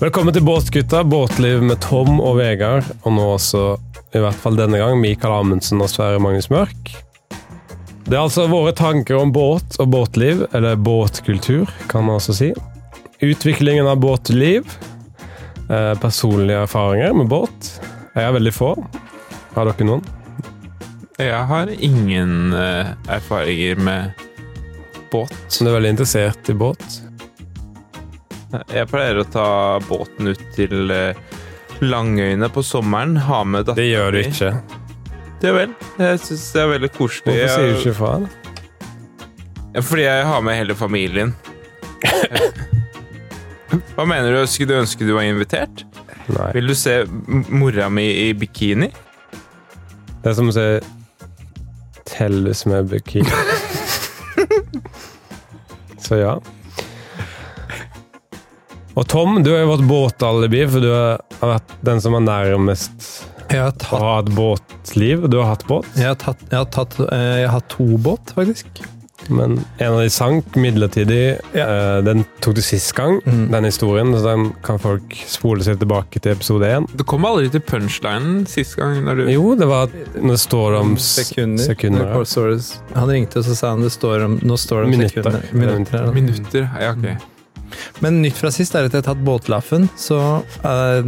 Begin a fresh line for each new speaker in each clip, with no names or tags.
Velkommen til Båtgutta, båtliv med Tom og Vegard. Og nå også, i hvert fall denne gang, Mikael Amundsen og Sverre Magnus Mørk. Det er altså våre tanker om båt og båtliv, eller båtkultur, kan man også si. Utviklingen av båtliv. eh, Personlige erfaringer med båt. Jeg har veldig få. Har dere noen?
Jeg har ingen eh, erfaringer med båt.
Som er veldig interessert i båt.
Jeg pleier å ta båten ut til eh, Langøyene på sommeren. Ha med datteren
Det gjør du ikke.
Ja vel. Jeg syns det er veldig koselig.
Hvorfor sier du
Jeg-
ikke fra? da?
Ja, Fordi jeg har med hele familien. Hva mener du? Skulle du ønske du var invitert?
Nei.
Vil du se m- mora mi i bikini?
Det er som å si Tellus med bikini. Så ja. Og Tom, du er jo vårt båtalibi, for du er- har vært den som er nærmest
Jeg har
å
tatt,
ha et båtliv. Du har hatt båt,
jeg har tatt, jeg har tatt, eh, jeg har hatt to båt, faktisk.
men en av de sank midlertidig. Eh, Den tok du sist gang,
Mm.
den historien, så den kan folk spole seg tilbake til episode én.
Du kom aldri til punchlinen sist gang. Når du...
Jo, det var når det står om s-
Sekunder.
sekunder
Når
ja.
Paul Soros- han ringte og så sa han det står om, nå står det om
Minutter.
sekunder. Minutter. ja.
Minutter? Ja, ok.
Men nytt fra sist er at jeg har tatt båtlaffen, så eh,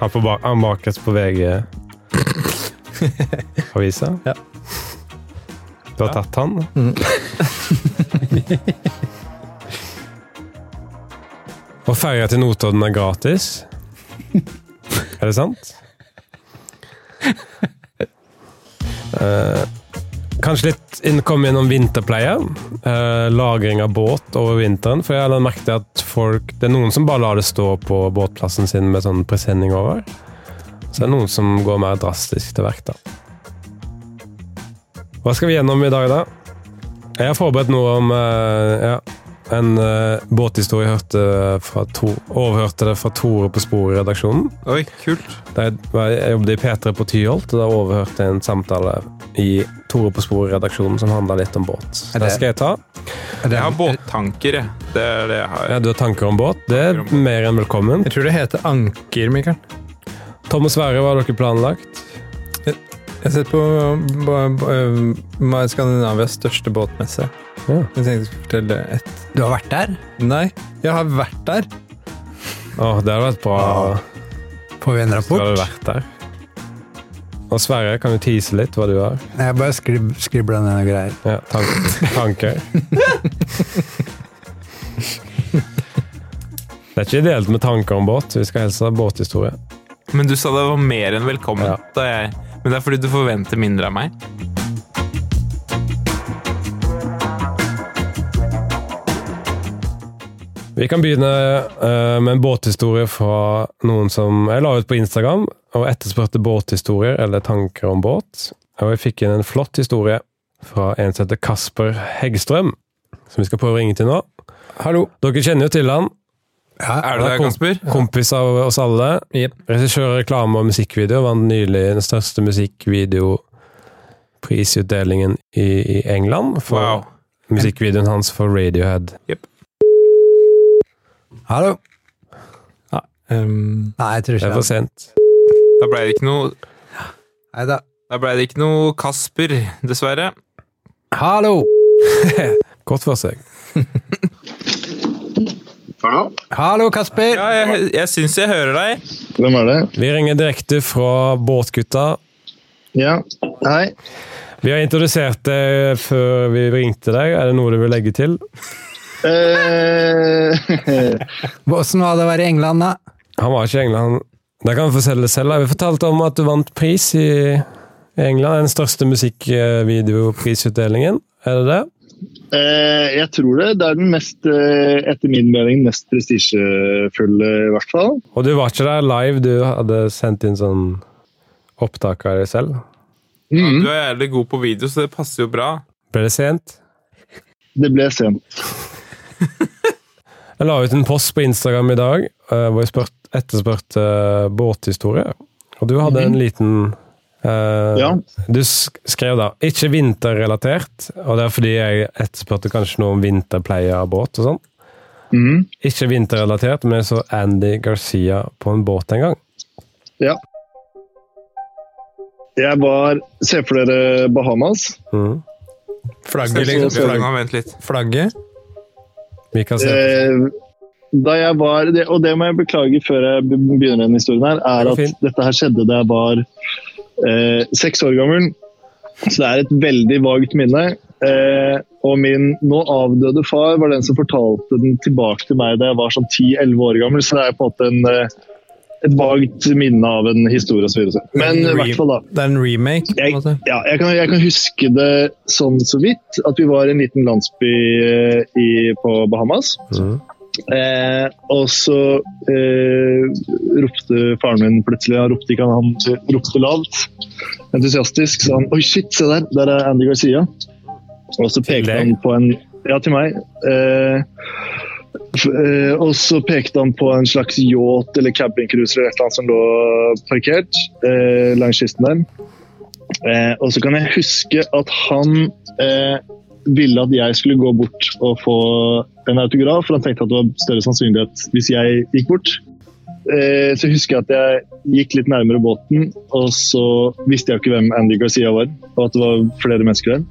Han, får ba- han bakes på VG-avisa.
Ja.
Du har tatt han?
Mm.
Og ferja til Notodden er gratis. Er det sant? Eh, kanskje litt inn- komme innom vinterpleie. Eh, lagring av båt over vinteren. For jeg har merket at folk, det er noen som bare lar det stå på båtplassen sin med sånn presenning over. Så det er noen som går mer drastisk til verk, da. Hva skal vi gjennom i dag, da? Jeg har forberedt noe om eh, ja, en eh, båthistorie jeg hørte fra Tor, overhørte det fra Tore på Sporet-redaksjonen.
Oi, kult.
Da jeg, var- jeg jobbet i P3 på Tyholt, og da overhørte jeg en samtale i Tore på sporet-redaksjonen som handla litt om båt. Så
Er
det
det-
skal jeg ta.
Jeg har båttanker, jeg. Det er det jeg har.
Ja, du har tanker om båt? Det er mer enn velkommen.
Jeg tror det heter anker, Mikael.
Tom og Sverre, hva har dere planlagt?
Jeg har sett på b- b- eh, Skandinavias største båtmesse.
Ja.
Jeg tenkte jeg skulle fortelle et
Du har vært der?
Nei, jeg har vært der.
Åh, det hadde vært bra.
Får vi en
Du hadde
rapport?
vært der. Og Sverre, kan du tease litt hva du har?
Jeg bare skrib, skribla ned noen greier.
Ja, tan tanker. Det er ikke ideelt med tanker om båt. Vi skal helst ha båthistorie.
Men du sa det var mer enn velkommen.
Ja.
Da jeg, men det er fordi du forventer mindre av meg.
Vi kan begynne eh, med en båthistorie fra noen som jeg la ut på Instagram og etterspurte båthistorier eller tanker om båt. Og jeg fikk inn en flott historie fra en som heter Kasper Heggstrøm, som vi skal prøve å ringe til nå.
Hallo.
Dere kjenner jo til han.
Er du
Ja,
der,
kom.
Kasper?
Kompis av oss alle.
Jep.
Regissør, reklame og musikkvideo vant nylig den største musikkvideoprisutdelingen i, i England for
Wow.
musikkvideoen hans for Radiohead.
Hallo?
Um,
Nei, jeg tror
Det
ikke
er for
det.
sent.
Da ble det ikke noe,
Nei da.
da ble det ikke noe Kasper, dessverre.
Hallo!
Godt forsøk.
Hallo?
Hallo, Kasper!
Ja, jeg, jeg syns jeg hører deg.
Hvem er det?
Vi ringer direkte fra Båtgutta.
Ja, hei.
Vi har introdusert deg før vi ringte deg. Er det noe du vil legge til?
Eh,
Åssen var det å være i England, da?
Han var ikke i England. Da kan vi fortelle det selv. da. Vi fortalte om at du vant pris i i England. Den største musikkvideoprisutdelingen. Er det det?
eh, jeg tror det. Det er den mest, eh, etter min mening, mest prestisjefulle, i hvert fall.
Og du var ikke der live. Du hadde sendt inn sånn opptak av deg selv.
Du er jævlig god på video, så det passer jo bra.
Ble det sent?
Det ble sent.
Jeg la ut en post på Instagram i dag eh, hvor jeg spurt, etterspurte eh, båthistorie. Og du hadde en liten eh,
Mhm. Ja.
Du sk- skrev da 'ikke vinterrelatert', og det er fordi jeg etterspurte kanskje noe om vinterpleie av båt og sånn.
Mhm.
Ikke vinterrelatert, men jeg så Andy Garcia på en båt en gang.
Ja. Jeg var Se for dere Bahamas.
Mm.
Flagget,
Så-
liksom.
så-
Flagg,
Vent litt.
flagget?
Vi kan se.
Eh, da jeg var, det- og det må jeg beklage før jeg be- begynner denne historien, her, er
Det går
at
fint.
dette her skjedde da jeg var eh, seks år gammel. Så det er et veldig vagt minne. Eh, og min nå avdøde far var den som fortalte den tilbake til meg da jeg var sånn 10-11 år gammel, så det er på en måte en, eh, et vagt minne av en historie osv. Men i hvert fall, da.
Det er en remake, på en måte.
Ja, jeg kan, jeg kan huske det sånn så vidt. At vi var i en liten landsby eh, i, på Bahamas.
Mhm.
Eh, og så eh, ropte faren min plutselig Han ropte ikke, han, han ropte lavt. Entusiastisk. Så han Oi, shit, se der! Der er Andy Garcia. Og så pekte
deg?
han på en Ja, til meg. Eh, f- eh, og så pekte han på en slags yacht eller cabincruiser eller et eller annet som lå parkert eh, langs kysten der. Eh, og så kan jeg huske at han eh, ville at jeg skulle gå bort og få en autograf, for han tenkte at det var større sannsynlighet hvis jeg gikk bort. Eh, så husker jeg at jeg gikk litt nærmere båten, og så visste jeg jo ikke hvem Andy Garcia var, og at det var flere mennesker der.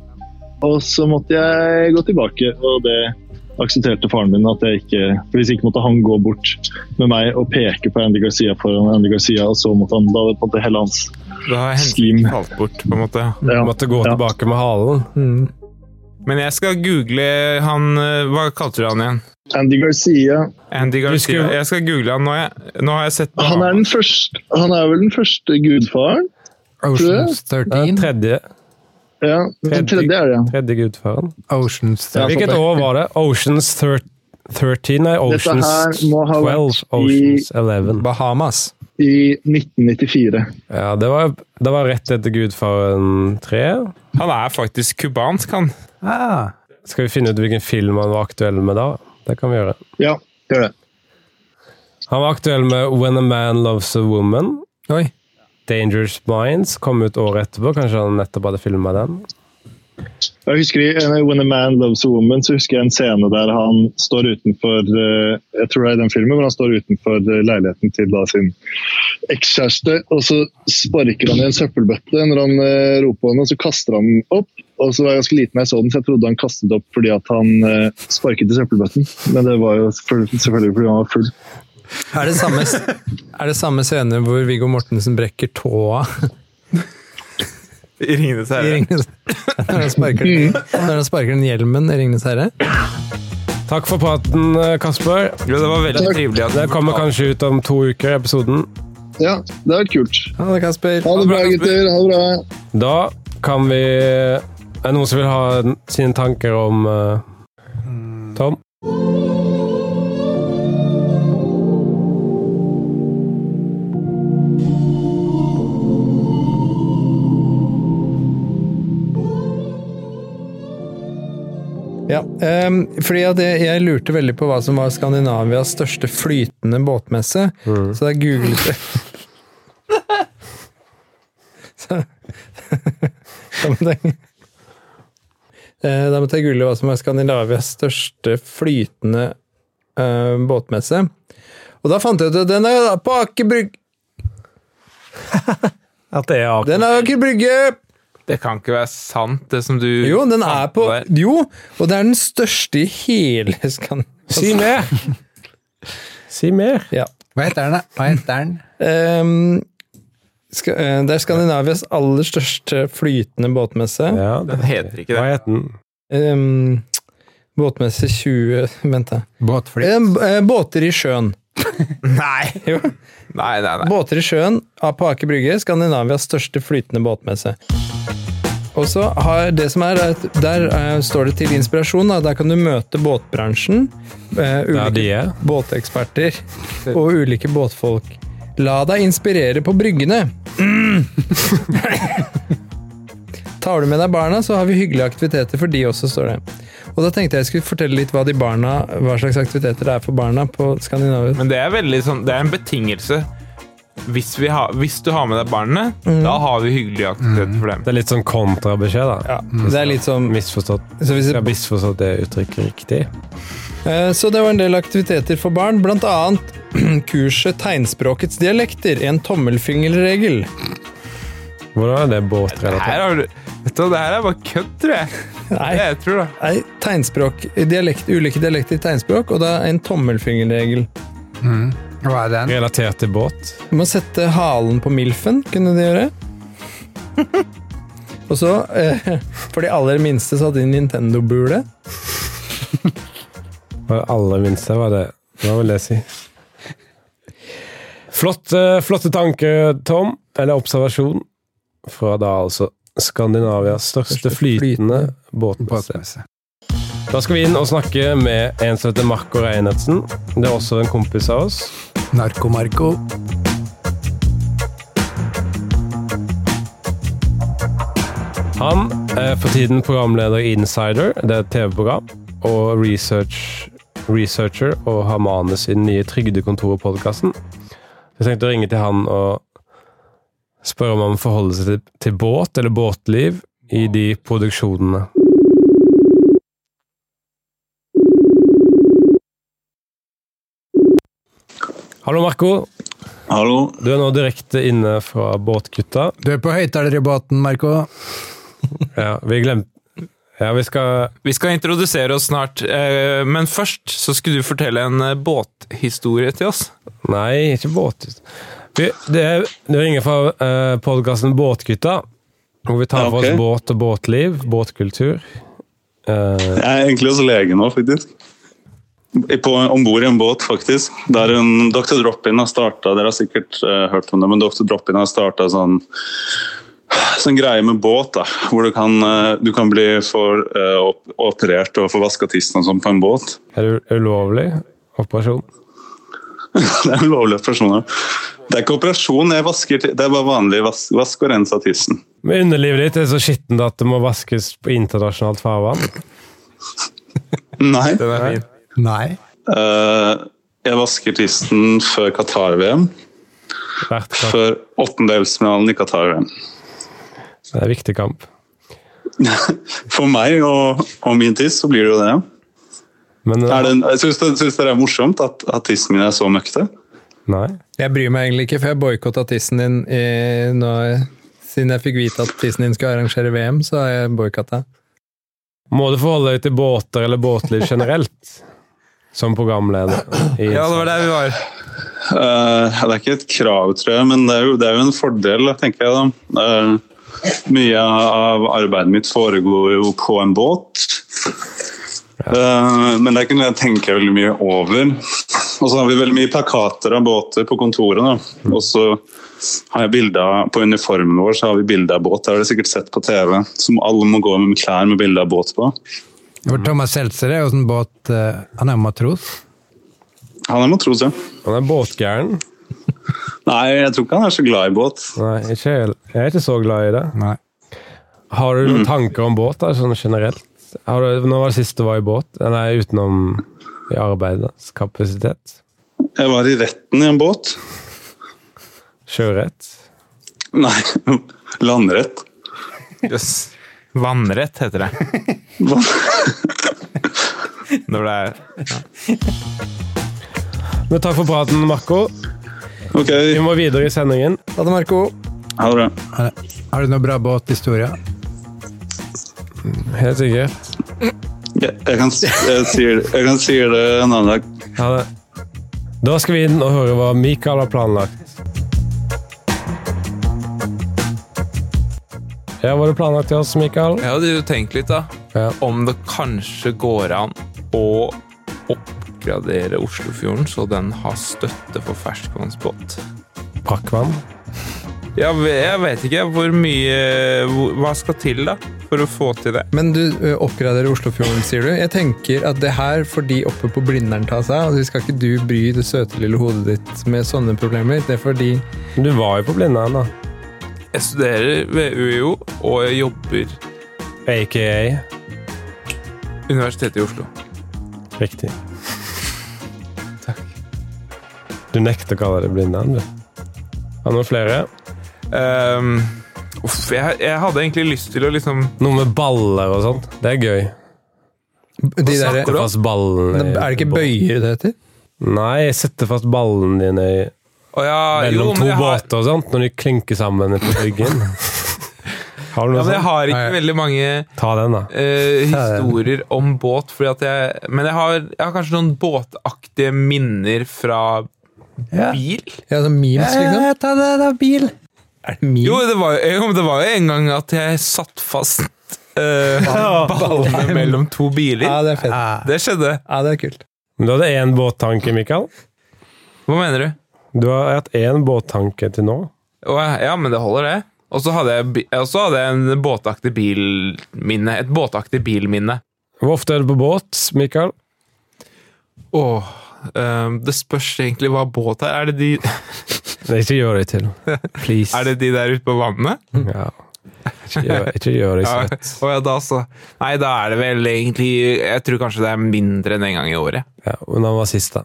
Og så måtte jeg gå tilbake, og det aksepterte faren min at jeg ikke For hvis ikke måtte han gå bort med meg og peke på Andy Garcia foran Andy Garcia, og så måtte han da hadde på en måte hele hans
Da har hensikten
Slim.
falt bort, på en måte.
ja.
Måtte gå
Ja.
tilbake med halen.
Mm.
Men jeg skal google han eh, Hva kalte du han igjen?
Andy Garcia
Andy Garcia.
skulle-
Jeg skal google han nå, jeg. Nå har jeg sett på
Han er, den første, han er vel den første gudfaren?
Oceans
Det er
13.
Eh, Tredje,
Ja, den tredje er det. ja.
tredje gudfaren.
Oceans 13.
Hvilket år var det? Oceans thir- 13? Nei,
Dette
Oceans
her må ha
12?
vært
Oceans 11?
Bahamas.
i 1994.
Ja, det var, det var rett etter Gudfaren 3.
Han er faktisk cubansk, han.
Ah,
Skal vi finne ut hvilken film han var aktuell med da? Det kan vi gjøre.
Ja, gjør det.
Han var aktuell med When a Man Loves a Woman.
Oi.
Dangerous Minds kom ut året etterpå. Kanskje han nettopp hadde filma den?
Jeg husker i eh, When a Man Loves a Woman, så husker jeg en scene der han står utenfor eh, Jeg tror det er i den filmen, hvor han står utenfor eh, leiligheten til da sin ekskjæreste, og så sparker han i en søppelbøtte når han eh, roper henne, og så kaster han den opp. Og så var jeg ganske liten da jeg så den, så jeg trodde han kastet opp fordi at han eh, sparket i søppelbøtten. Men det var jo selvfølgelig selvfølgelig fordi han var full.
Er det samme, er det samme scene hvor Viggo Mortensen brekker tåa?
I Ringenes
i
herre.
Ringenes Når han sparker, når han sparker den hjelmen i Ringenes herre?
Takk for praten, eh, Kasper.
Jo, det var veldig trivelig at
Det kommer kanskje ut om to uker, episoden.
Ja, det har vært kult.
Ha det, Kasper.
Ha det bra, gutter. Ha det bra.
Da kan vi Er det noen som vil ha n- sine tanker om eh, Tom?
Ja, ehm, fordi at jeg, jeg lurte veldig på hva som var Skandinavias største flytende båtmesse, så da googlet jeg så, da, måtte jeg Eh, da måtte jeg google hva som var Skandinavias største flytende eh, båtmesse. Og da fant jeg ut at den er da på Aker Brygge!
At det er
Den er Aker Brygge!
Det kan ikke være sant, det som du
Jo, den er på
der.
Jo, og det er den største i hele Skandinavia.
Si mer! Si mer.
Ja.
hva heter den, da? Hva heter den?
Ehm, ska, eh, det er Skandinavias aller største flytende båtmesse.
Ja,
Den heter ikke
Hva
det.
het den?
Ehm, båtmesse 20 Vent, da.
Båtfly.
Ehm, b- eh, båter i sjøen.
Nei!
Jo.
Nei, nei, nei.
Båter i sjøen av på Aker Brygge. Skandinavias største flytende båtmesse. Og så har det som er, er at Der eh, står det til inspirasjon. Da. Der kan du møte båtbransjen. eh,
Der
ulike
de er.
båteksperter og ulike båtfolk. La deg inspirere på bryggene. Tar du med deg barna, så har vi hyggelige aktiviteter for de også, står det. Og da tenkte jeg jeg skulle fortelle litt hva, de barna, hva slags aktiviteter det er for barna på Skandinavia.
Men det er veldig sånn Det er en betingelse. hvis, vi har, hvis du har med deg barna, da har vi hyggelige aktiviteter for dem.
Det er litt sånn kontrabeskjed, da.
Ja, Mm. det er litt som
Misforstått.
så, hvis,
Jeg har misforstått det uttrykket riktig.
eh, så det var en del aktiviteter for barn, blant annet kurset Tegnspråkets dialekter, en tommelfingerregel.
Hvordan er det båtrelatert?
Her har du, vet du, hva, det her er bare kødd, tror jeg.
Nei,
Det jeg tror det.
nei tegnspråk, dialekt, ulike dialekter i tegnspråk, og da en tommelfingerregel.
Mm. Hva er den?
Relatert til båt?
Du må sette halen på milfen, kunne de gjøre. Og så, eh, for de aller minste, så hadde de Nintendo-bule.
Var det aller minste, var det Hva vil det si? Flott, eh, flotte tanker, Tom. Eller observasjon. Fra da altså Skandinavias største
Største
flytende
flytende
båtmesse.
Båtmesse.
Da skal vi inn og snakke med en som heter Marco Reinertsen. Det er også en kompis av oss.
Narko-Marko.
Han er for tiden programleder i Insider, det er et TV-program, og research, researcher og har manus i den nye Trygdekontoret-podkasten. Jeg tenkte å ringe til han og spørre om han forholder seg til, til båt eller båtliv i de produksjonene. Hallo, Marco.
Hallo.
Du er nå direkte inne fra båtgutta.
Du er på høyttaler i båten, Marko.
Ja, vi glemte Ja, vi skal
Vi skal introdusere oss snart, eh, men først så skulle du fortelle en eh, båthistorie til oss.
Nei, ikke båt. Vi, det er, det er ingen fra eh, podkasten Båtgutta, hvor vi tar
Ja,
for
ok.
oss båt og båtliv, båtkultur. Eh,
Jeg er egentlig hos lege nå, faktisk. Om bord i en båt, faktisk. Der en Dr. Drop-In har starta Dere har sikkert eh, hørt om det, men Dr. Drop-In har starta sånn sånn greie med båt, da, hvor du kan, eh, du kan bli for, eh, op- operert og få vaska tissen og sånn på en båt.
er det u- ulovlig operasjon?
Det er ulovlig for personer. Det er ikke operasjon, jeg vasker, ti- det er bare vanlig vask, vask og rens av tissen.
Men underlivet ditt er så skittent at det må vaskes på internasjonalt farvann.
Nei.
Den er fin.
Nei.
eh, jeg vasker tissen før Qatar-VM.
Hvert kamp.
Før åttendedelsfinalen i Qatar-VM.
Det er en viktig kamp.
For meg og, og min tiss, så blir det jo det.
Men eh,
Er det en, syns, dere, syns dere det er morsomt at, at tissen min er så møkkete?
Nei.
Jeg bryr meg egentlig ikke, for jeg boikotta tissen din i, nå, siden jeg fikk vite at tissen din skulle arrangere VM. så har jeg boykottet.
Må du forholde deg til båter eller båtliv generelt? Som programleder. i-
Ja, det var der vi var.
Eh, det er ikke et krav, tror jeg, men det er jo, det er jo en fordel, da, tenker jeg. da. Eh, mye av arbeidet mitt foregår jo på en båt. Eh, men det er ikke noe jeg tenker veldig mye over. Og så har vi veldig mye plakater av båter på kontoret. da. Og så har jeg bilder av- På uniformen vår så har vi bilde av båt, det har dere sikkert sett på TV. Som alle må gå med klær med bilde av båt på.
Mm.
For Thomas Seltzer er jo sånn båt eh, Han er jo matros.
Han er matros, ja.
Han er båtgæren.
Nei, jeg tror ikke han er så glad i båt.
Nei, ikke, helt. jeg er ikke så glad i det.
Nei.
Har du noen tanker om båt, da, sånn generelt? Har du, når var det sist du var i båt? Nei, utenom i arbeidskapasitet?
Jeg var i retten i en båt.
Sjørett?
Nei, landrett.
Jøss. Vannrett heter det. Når det er
Men takk for praten, Marco.
Ok,
Vi må videre i sendingen.
Ha det, Marco.
ha det bra.
Har har du noe bra båthistorie?
Helt sikkert.
Jeg, jeg, kan, jeg, sier, jeg kan si det en annen dag.
Ha det. Da skal vi inn og høre hva Mikael har planlagt. Ja, Hva har du planlagt til oss, Mikael?
Jeg hadde jo tenkt litt, da.
Ja.
Om det kanskje går an å oppgradere Oslofjorden så den har støtte for ferskvannsbåt.
Brakkvann?
Jeg, ve- jeg vet ikke hvor mye hvor- Hva skal til, da, for å få til det?
Men du ø, oppgraderer Oslofjorden, sier du. Jeg tenker at det her får de oppe på Blindern ta seg av. Altså, skal ikke du bry det søte lille hodet ditt med sånne problemer. Det får de
Du var jo på Blindern, da.
Jeg studerer ved UiO, og jeg jobber
Aka.
Universitetet i Oslo.
Riktig. Takk. Du nekter å kalle det Blindern, du. Er det noen flere?
Ehm, uff, jeg, jeg hadde egentlig lyst til å liksom
Noe med baller og sånt. Det er gøy.
De der,
Sette fast ballene i
er det ikke
båt.
bøyer det heter?
Nei, sette fast ballene dine i,
Å ja, Ah, jo,
mellom
men
to
jeg har,
båter og sånt, når de klinker sammen på ryggen. Har du noe
ja, men jeg
sånt?
har ikke
Nei.
veldig mange
Ta den, da.
eh, historier om båt. Fordi at jeg, men jeg har, jeg har kanskje noen båtaktige minner fra bil.
Ja, sånn memes, liksom.
Eh, ta det, da, bil!
Er det memes?
Jo, det var, jo, men det var jo en gang at jeg satt fast eh, ballene mellom to
Ja,
biler.
det er fett.
Ah.
Det skjedde.
Ja, det er kult.
Men du hadde én båttanke, Mikael.
Hva mener du?
Du har hatt én båttanke til nå.
Å, ja, men det holder, det. Og så hadde jeg, bi- og så hadde jeg en båtaktig bilminne. Et båtaktig bilminne.
Hvor ofte er du på båt, Mikael?
Åh, eh, det spørs egentlig hva båt er. Er det de,
Nei, Ikke gjør det til. Please.
er det de der ute på vannet?
Ja. Ikke gjør, ikke gjør det
Ja,
sånn.
å ja, da så. Nei, da er det vel egentlig Jeg tror kanskje det er mindre enn en gang i året.
Ja, men han var sist, da.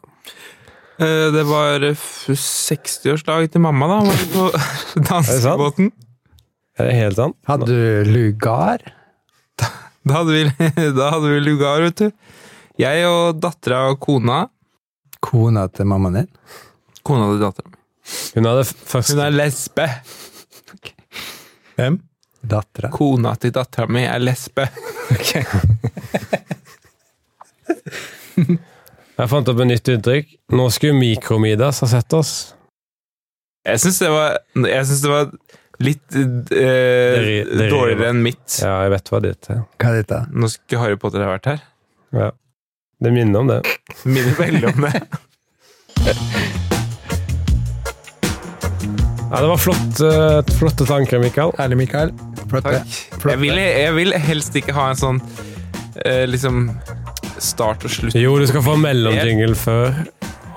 Eh, Det var eh, f- 60-årsdag til mamma, da. Var vi på dansebåten.
Er det helt sant?
Hadde du lugar?
Da hadde vi, da hadde vi lugar, vet du. Jeg og dattera og kona.
Kona til mammaen din?
Kona til dattera mi.
Hun hadde f- først
Hun er lesbe.
Hvem?
Dattera?
Kona til dattera mi er lesbe.
Jeg fant opp et nytt uttrykk. Nå skulle Mikromidas ha sett oss.
Jeg syns det var Jeg synes det var litt eh,
Det ri- det rimer.
dårligere enn mitt.
Ja, jeg vet hva ditt er.
Hva er dette?
Nå skulle Harry Potter ha vært her.
Det minner om det.
Minner veldig om det.
Ja, det var flott, eh, flotte tanker, Mikael.
Herlig, Mikael.
Flott, det.
Jeg vil, jeg vil helst ikke ha en sånn eh, liksom start og slutt.
Jo, du skal få en mellomjingle før,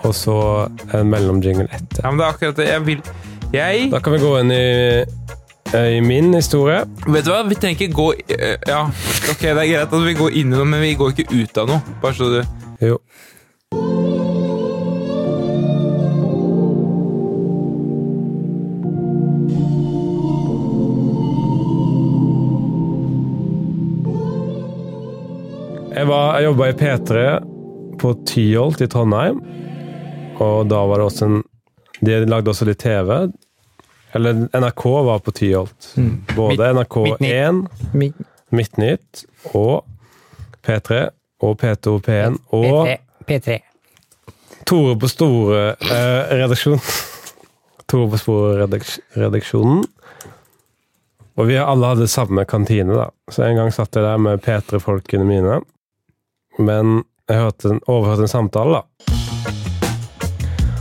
og så en mellomjingle etter.
Ja, men det er akkurat det. Jeg vil Jeg
Da kan vi gå inn i, eh, i min historie.
Vet du hva, vi trenger ikke gå eh, Ja, ok, det er greit at vi går inn i noe, men vi går ikke ut av noe. Bare så du
Jo. Jeg, var- jeg jobba i P3 på Tyholt i Trondheim. Og da var det også en De lagde også litt TV. Eller NRK var på Tyholt. Både NRK1
Mi-
Midtnytt og P3 og P2 P1 og
P3.
Tore på Store eh, redaksjon. Tore på Store-redaksjonen. Og vi alle hadde samme kantine, da. Så en gang satt jeg der med P3-folkene mine. Men jeg hørte en, overhørte en samtale, da.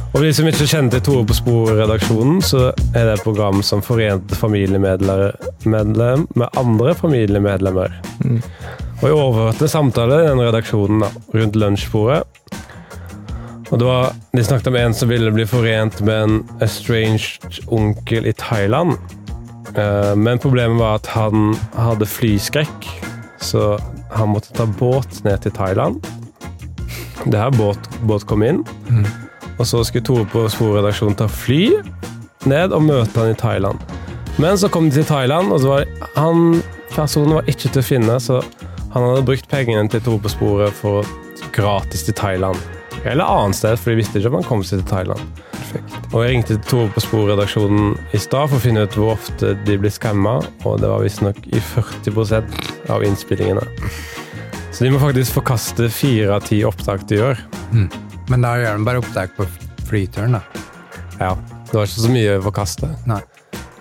Og for de som ikke kjenner til Tore på Spor-redaksjonen, så er det et program som forente familiemedlemmer med andre familiemedlemmer. Og jeg overhørte en samtale i den redaksjonen da, rundt lunsjbordet. Og det var, De snakket om en som ville bli forent med en estranged onkel i Thailand. Eh, Men problemet var at han hadde flyskrekk, så han måtte ta båt ned til Thailand. Det her båt, båt kom inn. Og så skulle Tore på sporredaksjonen ta fly ned og møte han i Thailand. Men så kom de til Thailand, og så var han, personen var ikke til å finne, så han hadde brukt pengene til Tore på sporet for gratis til Thailand. Eller annet sted, for de visste ikke om han kom seg til Thailand. Og jeg ringte til Tore på Sporredaksjonen i stad for å finne ut hvor ofte de blir skamma, og det var visstnok i 40 av innspillingene. Så de må faktisk forkaste fire av ti opptak de gjør.
Men da gjør den bare opptak på flyturen, da.
Ja, Det var ikke så mye å forkaste.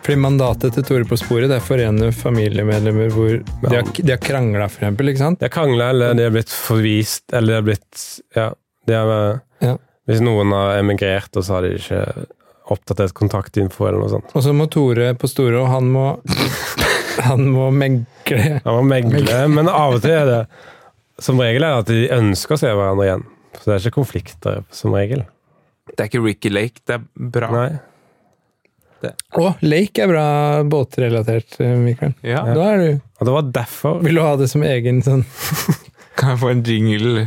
Fordi mandatet til Tore på sporet det er forene familiemedlemmer hvor de har, de har krangla, for eksempel. Ikke sant?
De har krangla, eller de har blitt forvist, eller de har blitt Ja. De har, eh,
Ja.
Hvis noen har emigrert, og så har de ikke oppdatert kontaktinfo eller noe sånt.
Og så må Tore på Store, og han må Han må megle.
Han må megle, men av og til er det Som regel er det at de ønsker å se hverandre igjen. Så det er ikke konflikter, som regel.
Det er ikke Ricky Lake, det er bra.
Nei.
Å, Lake er bra båtrelatert, Mikael.
Ja.
Da er du
Og det var derfor
Vil du ha det som egen sånn
Kan jeg få en jingle?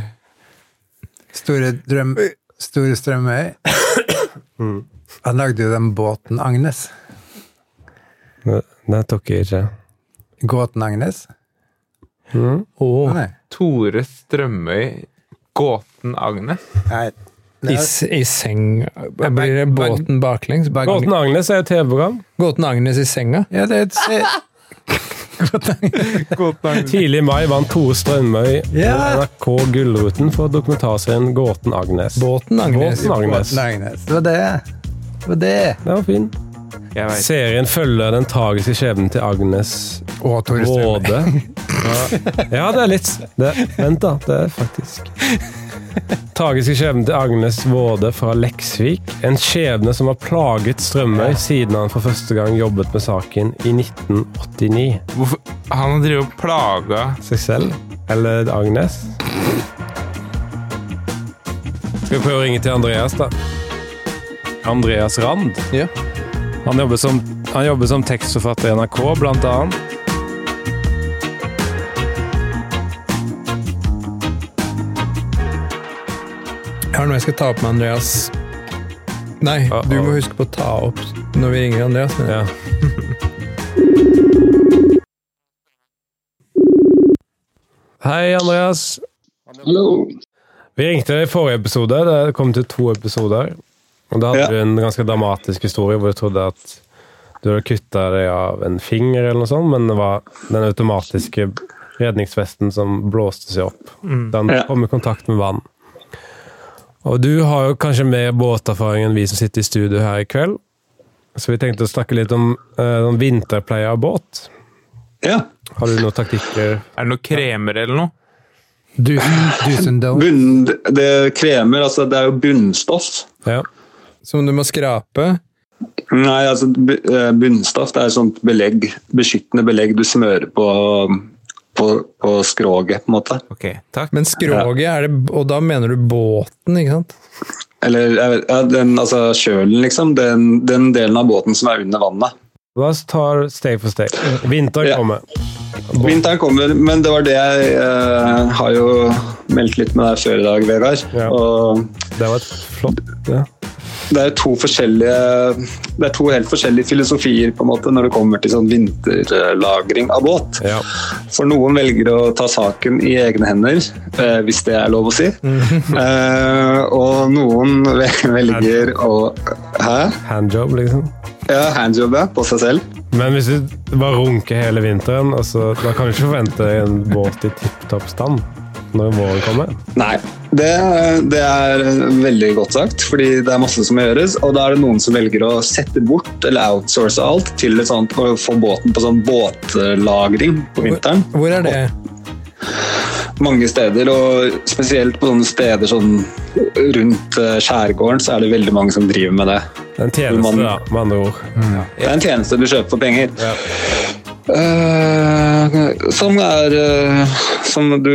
Store drøm... Store Strømøy. Han lagde jo den båten Agnes.
Det, det tok jeg ikke.
Gåten Agnes?
Oh,
Nei.
Tore Strømøy, Gåten Agnes.
Nei.
i, s- I seng Blir det båten baklengs?
Gåten Agnes er jo TV-program.
Gåten Agnes i senga?
Ja, det er et se-
Gåten Agnes.
Tidlig i mai vant Tore Strømøy
Ja.
NRK Gullruten for dokumentarserien Gåten Agnes.
Båten Agnes.
Båten Agnes.
Gåten Agnes. Det var det. Det var det.
Det var fin.
Jeg vet.
Serien følger den tragiske skjebnen til Agnes
Og Tore Strømøy.
Råde. Ja, det er litt det, Vent, da. Det er faktisk Tragiske skjebnen til Agnes Våde fra Leksvik. En skjebne som har plaget Strømøy siden han for første gang jobbet med saken i 1989.
Hvorfor? Han har drevet og plaga
Seg selv? Eller Agnes? Skal vi prøve å ringe til Andreas, da? Andreas Rand.
Ja.
Han jobber som, han jobber som tekstforfatter i NRK, blant annet.
Jeg har noe jeg skal ta opp med Andreas. Nei,
Uh-oh.
du må huske på å ta opp når vi ringer Andreas. Men...
Ja. Hei, Andreas.
Hallo.
Vi ringte deg i forrige episode. Det kom til to episoder. Og Da hadde
Ja.
du en ganske dramatisk historie hvor du trodde at du hadde kutta deg av en finger, eller noe sånt, men det var den automatiske redningsvesten som blåste seg opp. Den
Ja.
kom i kontakt med vann. Og du har jo kanskje mer båterfaring enn vi som sitter i studio her i kveld. Så vi tenkte å snakke litt om eh, om vinterpleie av båt.
Ja.
Har du noen taktikker?
Er det noe kremer eller noe?
Do's and don'ts.
Bunn, det er kremer, altså det er jo bunnstoff.
Ja.
Som du må skrape.
Nei, altså bu- eh, bunnstoff det er et sånt belegg, beskyttende belegg du smører på, på, på skroget, på en måte.
Ok, takk.
Men skroget er det Og da mener du båten, ikke sant?
Eller jeg vet- ja, den, altså kjølen, liksom. Den, den delen av båten som er under vannet.
La oss ta steg for steg. Vinter
Ja.
kommer.
Vinteren kommer, men det var det jeg eh, har jo meldt litt med deg før i dag, Vegard.
Ja.
Og
Det var et flott ja.
det er to forskjellige Det er to helt forskjellige filosofier på en måte når det kommer til sånn vinterlagring av båt.
Ja.
For noen velger å ta saken i egne hender, eh, hvis det er lov å si.
Mm.
Eh, og noen ve- velger å Hæ?
handjob, liksom.
Ja, handjob, ja. På seg selv.
Men hvis du bare runker hele vinteren, altså, da kan du ikke forvente en båt i tipp topp stand når våren kommer.
Nei. Det, det er eh, veldig godt sagt, fordi det er masse som må gjøres. Og da er det noen som velger å sette bort eller outsource alt til et sånt, å få båten på sånn båtlagring på vinteren.
Hvor er det?
mange steder, og spesielt på sånne steder sånn rundt eh, skjærgården, så er det veldig mange som driver med det.
Det er En tjeneste, da, med andre ord.
Det er en tjeneste du kjøper for penger. Eh, som, er, eh, som, du,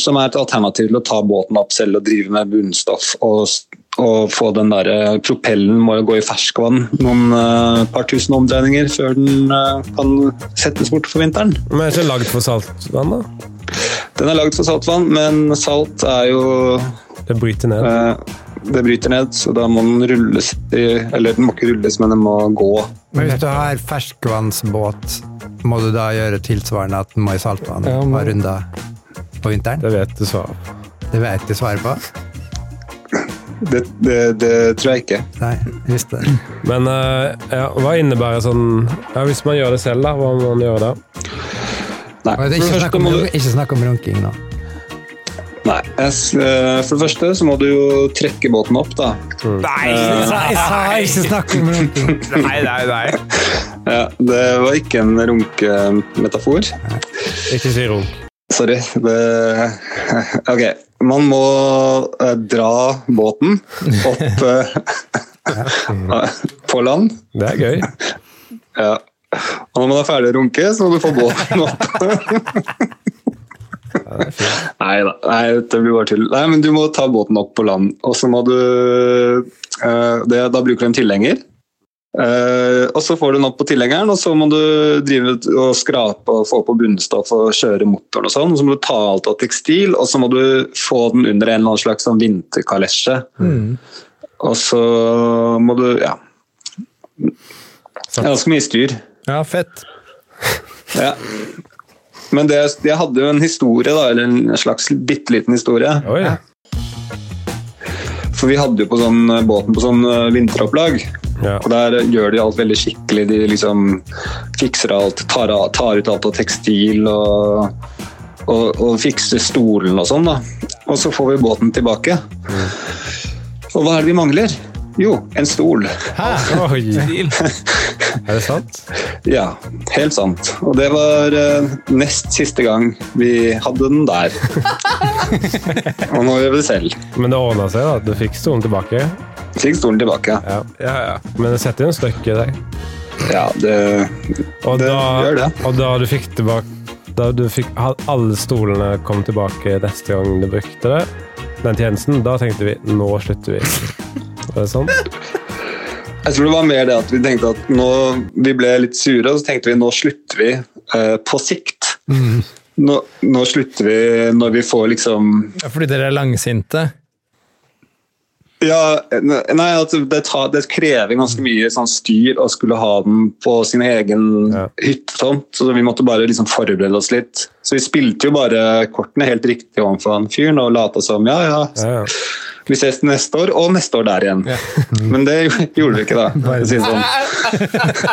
som er et alternativ til å ta båten opp selv og drive med bunnstoff. Og, s- og få den der, eh, Propellen må jo gå i ferskvann noen eh, par tusen omdreininger før den eh, kan settes bort for vinteren.
Men er det ikke lagd for saltvann, da?
Den er lagd for saltvann, men salt er jo
Det bryter ned.
Eh, Det bryter ned, så da må den rulles i, Eller den må ikke rulles, men den må gå.
Men hvis du har ferskvannsbåt, må du da gjøre tilsvarende at den må i saltvann
Ja,
ja,
må-
runder på vinteren?
Det vet du svaret på.
Det vet jeg svaret på.
Det, det, det tror jeg ikke.
Nei, jeg visste det.
Men eh, ja, hva innebærer sånn ja, Hvis man gjør det selv, da, hva må man gjøre da?
Nei.
Og det er
For
Ikke
det
snakk
første
om,
må
runk-
du-
ikke snakk om runking nå.
Nei. jeg s- eh, For det første så må du jo trekke båten opp, da.
Nei,
Jeg sa ikke snakk om runking!
nei, nei, nei.
Ja, det var ikke en runkemetafor.
Ikke si runk.
Sorry. Det Ok. Man må eh, dra båten opp eh, på land.
Det er gøy.
Ja. Og når man er ferdig å runke, så må du få båten opp. Nei da, Nei, det blir bare tull. Nei, men du må ta båten opp på land, og så må du eh, det, Da bruker du en tilhenger. Eh, og så får du den opp på tilhengeren, og så må du drive ut og skrape og få på bunnstoff og kjøre motoren og sånn. Og så må du ta alt av tekstil, og så må du få den under en eller annen slags sånn vinterkalesje. Og så må du Ja. Det er ganske mye styr.
Ja, fett.
Ja. Men det, jeg hadde jo en historie, da, eller en slags bitte liten historie.
Oi.
For vi hadde jo på sånn, båten på sånn eh, vinteropplag.
Ja.
Og der eh, gjør de alt veldig skikkelig. De liksom fikser alt, tar, av- tar ut alt av tekstil og, og, og fikser stolen og sånn. da. Og så får vi båten tilbake.
Mm.
Og hva er det vi mangler? Jo, en stol.
Oi.
Stil.
Er det sant?
Ja, helt sant. Og det var eh, nest siste gang vi hadde den der. og nå gjør vi det selv.
Men det ordna seg, da. Du fikk stolen tilbake.
Fikk stolen tilbake.
Ja, ja.
Men det setter jo en støkk i deg.
Ja, det
Og
Det
da,
gjør det.
og da du fikk tilbake da du fikk ha- alle stolene kom tilbake neste gang du brukte det, den tjenesten, da tenkte vi nå slutter vi. Er det sånn?
Jeg tror det var mer det at vi tenkte at nå, vi ble litt sure, og så tenkte vi nå slutter vi eh, på sikt. Nå, nå slutter vi når vi får liksom
Ja, Fordi dere er langsinte.
Ja, nei, at det, tar, det krever ganske mye sånn styr å skulle ha den på sin egen
Ja.
hyttetomt, så vi måtte bare liksom forberede oss litt. Så vi spilte jo bare kortene helt riktig overfor han fyren og lata som ja, ja,
Ja, ja.
vi ses neste år, og neste år der igjen. Men det gjorde vi ikke, da. for å si det sånn.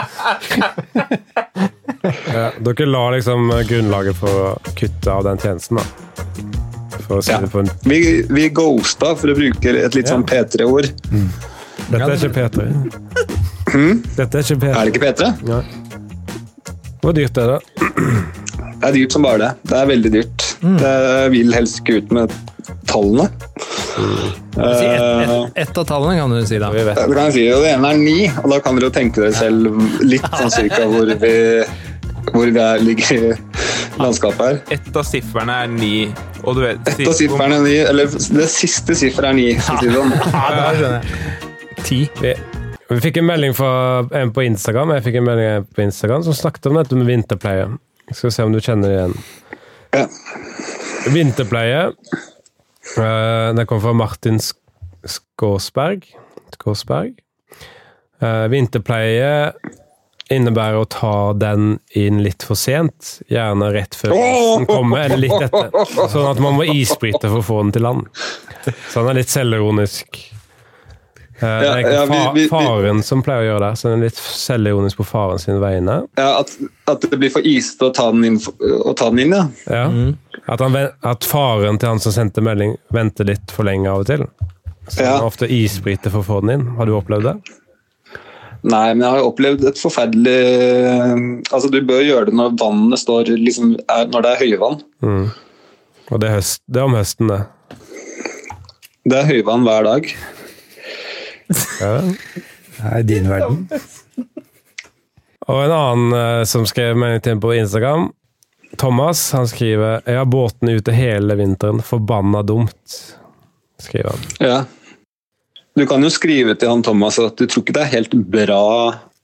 Ja, dere la liksom grunnlaget for å kutte av den tjenesten, da. For å si
Ja.
det på en
Vi, vi ghosta, for å bruke et litt
Ja.
sånn P3-ord.
Dette er ikke P3. Dette er ikke
Hmm? Er
P3.
det ikke P3?
Nei. Hvor dyrt er det?
Det er dyrt som bare det. Det er veldig dyrt.
Mm.
Jeg vil helst ikke ut med tallene.
Mm.
Si ett
Eh,
ett- ett av tallene kan du si, da.
Uh. Vi vet.
det kan jeg si, og Det ene er ni, og da kan dere jo tenke dere selv litt sånn cirka hvor vi, hvor vi er, ligger i landskapet her.
Ett av sifferne er ni. Og du vet
Et av sifferne er ni, eller det siste sifferet er ni. for å si det sånn.
Ja, det skjønner jeg. Ti.
Vi, vi fikk en melding fra en på Instagram Jeg fikk en melding på Instagram som snakket om dette med vinterpleie. Skal vi se om du kjenner det igjen.
Ja.
Vinterpleie. Eh, Den kom fra Martin Sk- Skårsberg. Skårsberg. Eh, Vinterpleie innebærer å ta den inn litt for sent. Gjerne rett før isen kommer, eller litt etter. Sånn at man må isbryte for å få den til land. Så han er litt selvironisk. Eh, Det
Ja,
er egentlig
ja, vi-
fa-
vi- vi-
faren som pleier å gjøre det, så han er litt selvironisk på faren sine vegne.
Ja, at, at det blir for isete å ta den inn, å ta den inn ja.
Ja.
Mm.
At, han, ven- at faren til han som sendte melding, venter litt for lenge av og til. Så
Ja.
han ofte isbryter for å få den inn. Har du opplevd det?
Nei, men jeg har jo opplevd et forferdelig Altså, du bør gjøre det når vannet står liksom, er, Når det er høyvann.
Og det er, høst, det er om høsten, det.
Det er høyvann hver dag.
Ja.
Det er din verden.
Og en annen eh, som skrev melding til meg på Instagram, Thomas, han skriver Jeg har båtene ute hele vinteren. Forbanna dumt, skriver han.
Ja. Du kan jo skrive til han Thomas at du tror ikke det er helt bra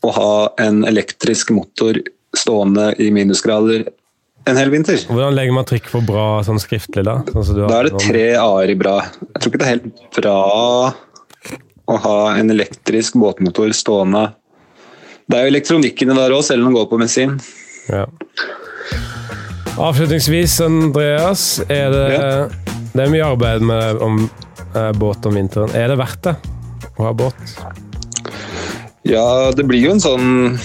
å ha en elektrisk motor stående i minusgrader en hel vinter.
Hvordan legger man trykk på bra sånn skriftlig, da? Sånn som du har
Da er det
om-
tre a-er i bra. Jeg tror ikke det er helt bra å ha en elektrisk båtmotor stående Det er jo elektronikken der òg, selv om den går på bensin.
Ja. Avslutningsvis, Andreas. Er det,
Ja.
det er mye arbeid med om, eh, båt om vinteren. Er det verdt det å ha båt?
Ja, det blir jo en sånn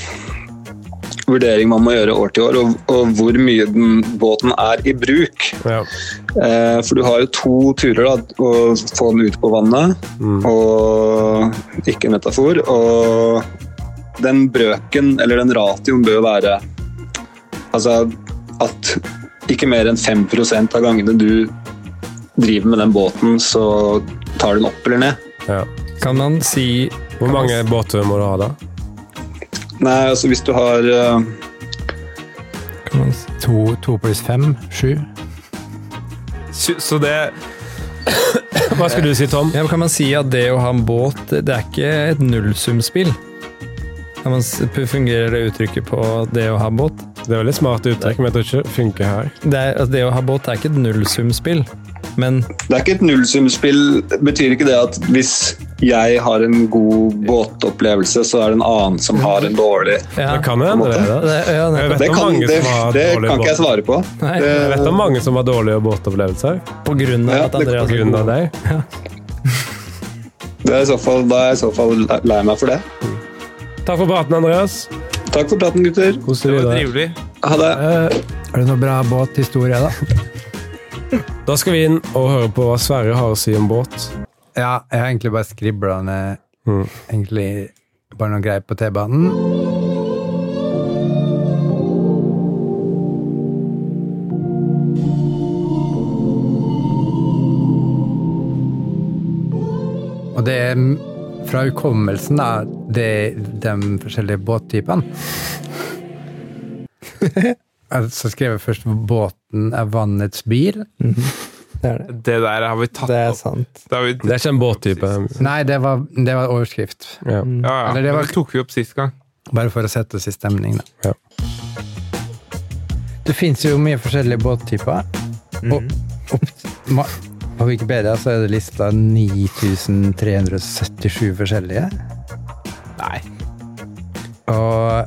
vurdering man må gjøre år til år, og, og hvor mye den båten er i bruk.
Ja.
Eh, for du har jo to turer, da. Å få den ut på vannet,
Mm.
og ikke en metafor. Og den brøken, eller den ratioen, bør jo være altså at ikke mer enn 5 av gangene du driver med den båten, så tar du den opp eller ned.
ja.
Kan man si
Hvor mange båtturer må du ha da?
Nei, altså hvis du har eh,
kan man, si-
To, to pluss fem, sju.
Så så det
Hva skulle du si, Tom?
ja, men kan man si at det å ha en båt, det det er ikke et nullsumspill? Kan man, s- fungerer det uttrykket på det å ha båt?
Det er veldig smart uttrykk, men jeg tror ikke det funker her.
Det, er, altså, det å ha båt er ikke et nullsumspill. Men
Det er ikke et nullsumspill. Betyr ikke det at hvis jeg har en god båtopplevelse, så er det en annen som har en dårlig?
ja,
Det kan jo hende, det. da.
det, ja,
Jeg
nettopp.
vet
Det
om
kan,
mange
det,
som har
det
dårlige
kan ikke jeg
båt-
svare på.
Nei,
Det,
Jeg vet om mange som har dårlige båtopplevelser
på grunn av
Ja,
at
det-
på
Andreas
grunn av deg.
det er i så fall, da er jeg i så fall le- lei meg for det.
Takk for praten, Andreas.
Takk for praten, gutter.
Kos
Det
deg
var
videre.
trivelig.
Ha det.
Er det noe bra båthistorie, da?
Da skal vi inn og høre på hva Sverre har å si om båt.
Ja, jeg har egentlig bare skribla ned egentlig bare noe greier på T-banen. Og det er fra hukommelsen, da, det, de forskjellige båttypene. Så skrev jeg først båten er vannets bil.
Det er det.
Det der har vi tatt
Det er
opp.
sant.
Det har vi,
Det er ikke en båttype.
Nei, det var, det var overskrift.
Ja.
Mm.
ja, ja.
Eller
Det,
det var-
tok vi opp sist gang.
Bare for å sette oss i stemning, da.
Ja.
Det fins jo mye forskjellige båttyper. Og opp- ma- på Wikipedia så er det lista 9377 forskjellige.
Nei.
Og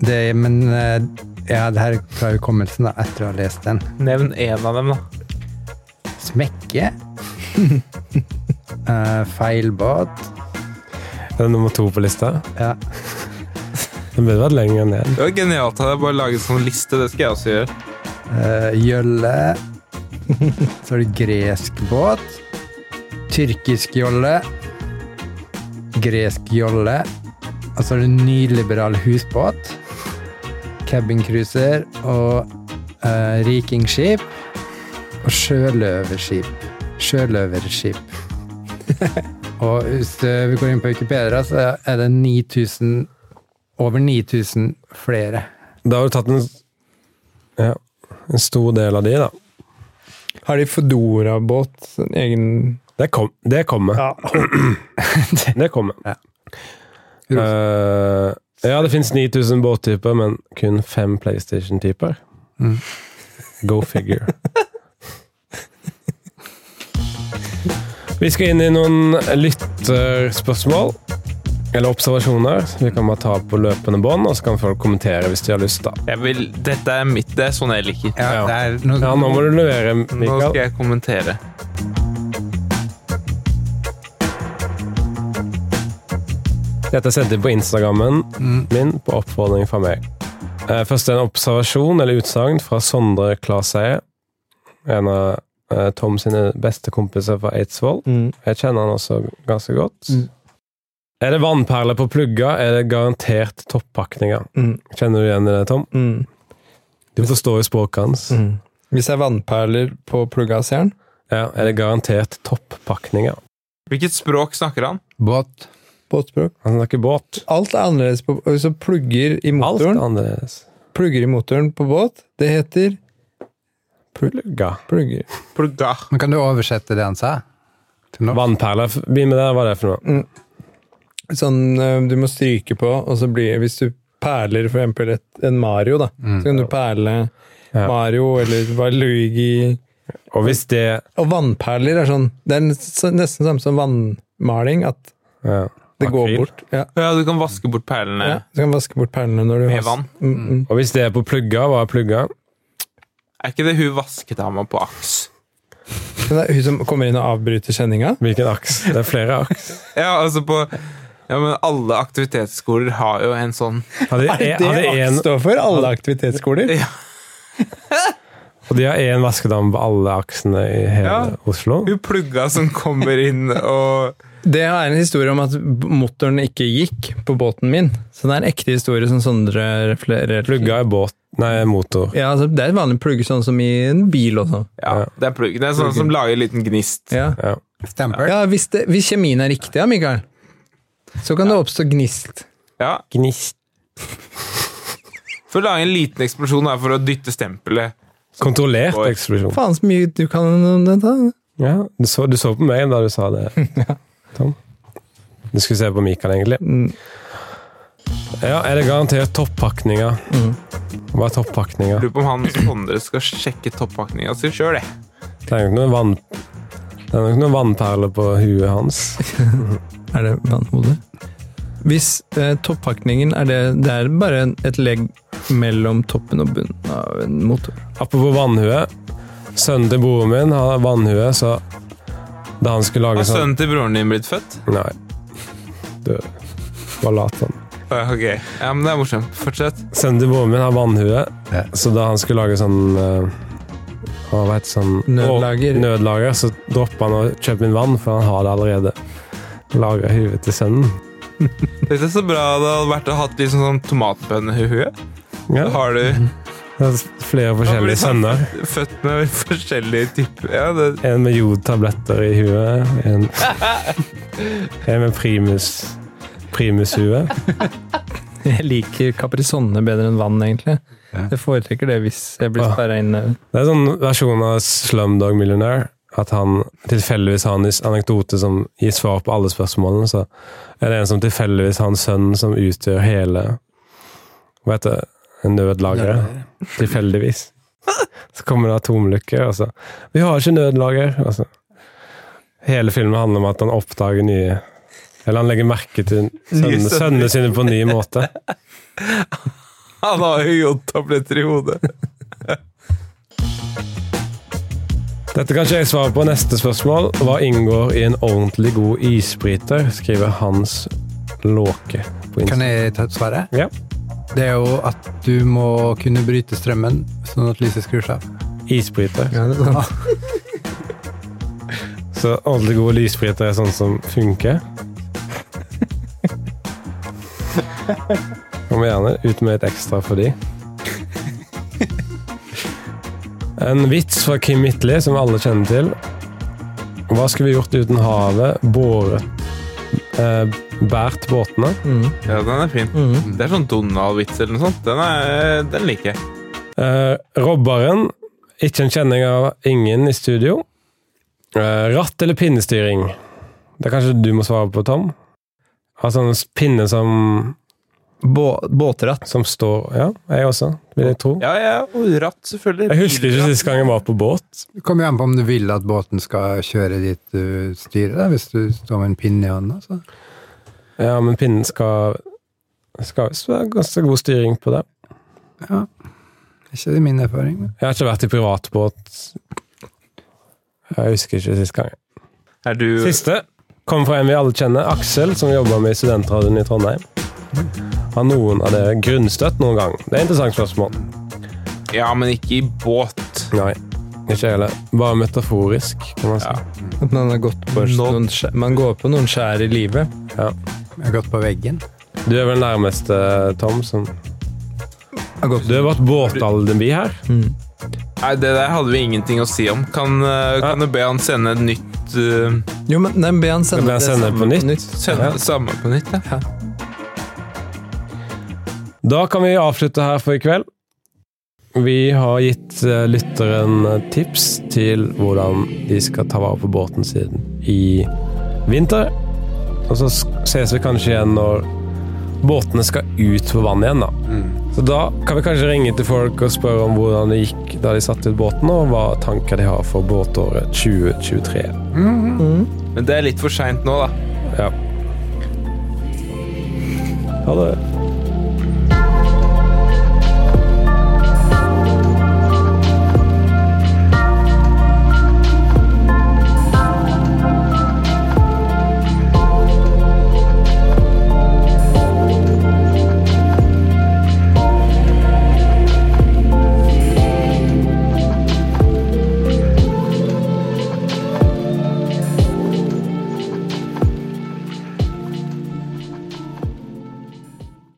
det Men eh, ja, det her er fra hukommelsen da, etter å ha lest den.
Nevn én av dem, da.
Smekke. Eh, feilbåt.
Det er nummer to på lista.
Ja.
Den burde vært lenger ned.
Det var genialt av deg. Bare lage en sånn liste. Det skal jeg også gjøre.
Eh, Jølle. Så er det gresk båt. Tyrkisk jolle. Gresk jolle. Og så er det nyliberal husbåt. Cabincruiser og eh, rikingskip. Og sjøløverskip. Sjøløverskip. og hvis eh, vi går inn på Wikipedia, så er det 9000 Over 9000 flere.
Da har du tatt en, ja, en stor del av de, da.
Har de Fodora-båt? En egen
Det, kom, det kommer.
Ja.
Det kommer.
Ja.
Eh, ja, det fins 9000 båttyper, men kun fem PlayStation-typer. Go figure. Vi skal inn i noen lytterspørsmål. Eller observasjoner. som Vi kan bare ta på løpende bånd, og så kan folk kommentere hvis de har lyst. da.
Jeg vil, dette er mitt. Det er sånn jeg liker.
Ja.
det er noe,
Ja, Nå må du levere,
Nå skal
Mikael.
jeg kommentere.
Dette er sendt inn på Instagrammen min på oppfordring fra meg. Eh, Først en observasjon eller utsagn fra Sondre Klaseie. En av eh, Tom sine beste kompiser fra Eidsvoll.
Mm.
Jeg kjenner han også ganske godt. Er det vannperler på plugga, er det garantert toppakninger.
Mm.
Kjenner du igjen i det, Tom?
Mm.
Du forstår jo språket hans.
Mm. Hvis det er vannperler på plugga, ser han.
Ja, er det garantert toppakninger?
Hvilket språk snakker han?
båt.
Båtspråk.
Han snakker båt.
Alt er annerledes på og Så plugger i
Alt
motoren
er annerledes.
Plugger i motoren på båt, det heter
Plugga.
plugger.
Plugga.
Men kan du oversette det han sa? Til norsk?
Vannperler, bli med der, hva er det for noe?
Sånn ø, du må stryke på, og så blir Hvis du perler for eksempel et, en Mario, da, så kan du perle
Mm. Ja.
Mario eller Valuigi
Og hvis det
Og vannperler er sånn Det er nes- nesten samme som vannmaling, at
ja.
det går
Akryl.
bort. Ja.
Ja, du kan vaske bort perlene.
Ja, du kan vaske bort perlene når du
Med
har-
vann?
Mm, mm.
Og hvis det er på plugga, hva er plugga?
Er ikke det hun vasket av meg på aks?
Men det er hun som kommer inn og avbryter sendinga.
Hvilken aks? Det er flere aks.
Ja, altså på ja, men Alle aktivitetsskoler har jo en sånn
Hadde,
Det
en, hadde
AKT
en,
står for alle aktivitetsskoler.
og de har én vaskedam på alle aksene i hele
Ja.
Oslo.
Hun plugga som kommer inn og
Det er en historie om at b- motoren ikke gikk på båten min. Så det er en ekte historie som Sondre reflererer til.
Plugga i båt Nei, motor.
Ja, altså, det er et vanlig plugg, sånn som i en bil og sånn.
Ja, det er plugg. Det er sånn som lager en liten gnist.
Ja.
Ja.
Stemper?
Ja, hvis, det, hvis kjemien er riktig, ja, Mikael, så kan det oppstå gnist.
Ja,
Gnist.
For å lage en liten eksplosjon her for å dytte stempelet.
Kontrollert eksplosjon.
Faen så mye du kan om dette.
Ja, du, så, du så på meg da du sa det, Tom. Du skulle se på Mikael, egentlig. Ja, er det garantert toppakninger? Hva er toppakninger?
Altså, Lurer på om han Sondre skal sjekke toppakninga si sjøl, jeg.
Det er jo ikke noe vann... Det er nok noen vannperler på huet hans.
Er det vannhode? Hvis eh, toppakningen er det Det er bare en- et legg mellom toppen og bunnen av en motor.
Apropos vannhue. Sønnen til broren min har vannhue, så da han skulle lage
Har
sånn
sønnen til broren din blitt født?
Nei. Du var lat, han.
Ja, Ok, ja, men det er morsomt. Fortsett.
Sønnen til broren min har vannhue,
Ja.
så da han skulle lage sånn eh, hva vet, sånn
Nødlager.
Å, nødlager, så droppa han å kjøpe inn vann, for han har det allerede. Lagra huet til sønnen.
Dette er så bra det hadde vært å ha litt sånn sånn tomatbønnehue.
Ja,
Da har du
det er flere
blir
forskjellige
det sant.
sønner.
født med forskjellige typer ja, det,
En med jodtabletter i huet. En, en med primus primushue.
Jeg liker kaprisonne bedre enn vann, egentlig. Jeg foretrekker det hvis jeg blir
Ah.
sperra inne.
Det er en sånn versjon av Slumdog Millionaire. At han tilfeldigvis har en anekdote som gir svar på alle spørsmålene. Så er det en som tilfeldigvis har en sønn som utgjør hele Hva heter det? En nødlager. Tilfeldigvis. Så kommer det atomlykker, og så Vi har ikke nødlager! Og så, hele filmen handler om at han oppdager nye Eller han legger merke til sønnene,
sønner.
sønnene sine på en ny måte.
Han har jo jodtabletter i hodet.
Dette kan ikke jeg svare på. Neste spørsmål. Hva inngår i en ordentlig god isbryter? Skriver Hans Låke på
Kan
Insta.
jeg ta et svar?
Ja.
Det er jo at du må kunne bryte strømmen, sånn at lyset skrur seg av. Ah,
Isbryter.
Ja, det er sant.
Så ordentlig god isbryter er sånn som funker? Kom gjerne ut med et ekstra for de. En vits fra Kim Midtli, som alle kjenner til. Hva skulle vi gjort uten havet? Båret eh, Båret båtene?
Ja, den er fin.
Mhm.
Det er sånn Donald-vits eller noe sånt. Den, er, den liker jeg.
Eh, robberen. Ikke en kjenning av ingen i studio. Eh, ratt eller pinnestyring? Det er kanskje du må svare på, Tom. Altså en pinne som,
Bå båtratt.
som står Ja, jeg også, vil jeg tro.
Ja, ja, og ratt selvfølgelig.
Jeg husker ikke sist gang jeg var på båt.
Det kommer jo an på om du vil at båten skal kjøre dit du styrer, da, hvis du står med en pinne i altså. hånda. Så.
Ja, men pinnen skal skal visst være ganske god styring på det.
Ja. Ikke det min erfaring. Men.
Jeg har ikke vært i privatbåt. Jeg husker ikke sist gang.
Er du
Siste kommer fra en vi alle kjenner, Aksel, som jobber med studentradioen i Trondheim. Har noen av dere grunnstøtt noen gang? Det er et interessant spørsmål.
Ja, men ikke i båt.
Nei, ikke jeg heller. Bare metaforisk, kan man si.
At man, har gått på
Nå-
noen skjær, man går på noen skjær i livet.
Jeg har gått på veggen.
Du er vel nærmeste, Tom, som
Jeg har gått
Du har vært båtalibi her.
Nei, det der hadde vi ingenting å si om. Kan, eh, kan du be han sende et nytt eh,
Jo, men nei, be han sende
Be han
det
sende
samme
på nytt?
Sende
Ja.
det samme på nytt, ja.
Da kan vi avslutte her for i kveld. Vi har gitt eh, lytteren eh, tips til hvordan de skal ta vare på båten sin i vinter. Og så s- ses vi kanskje igjen når båtene skal ut på vannet igjen, da. Så da kan vi kanskje ringe til folk og spørre om hvordan det gikk da de satte ut båten, og hva tanker de har for båtåret 2023.
Men det er litt for seint nå, da.
Ja. Ha det.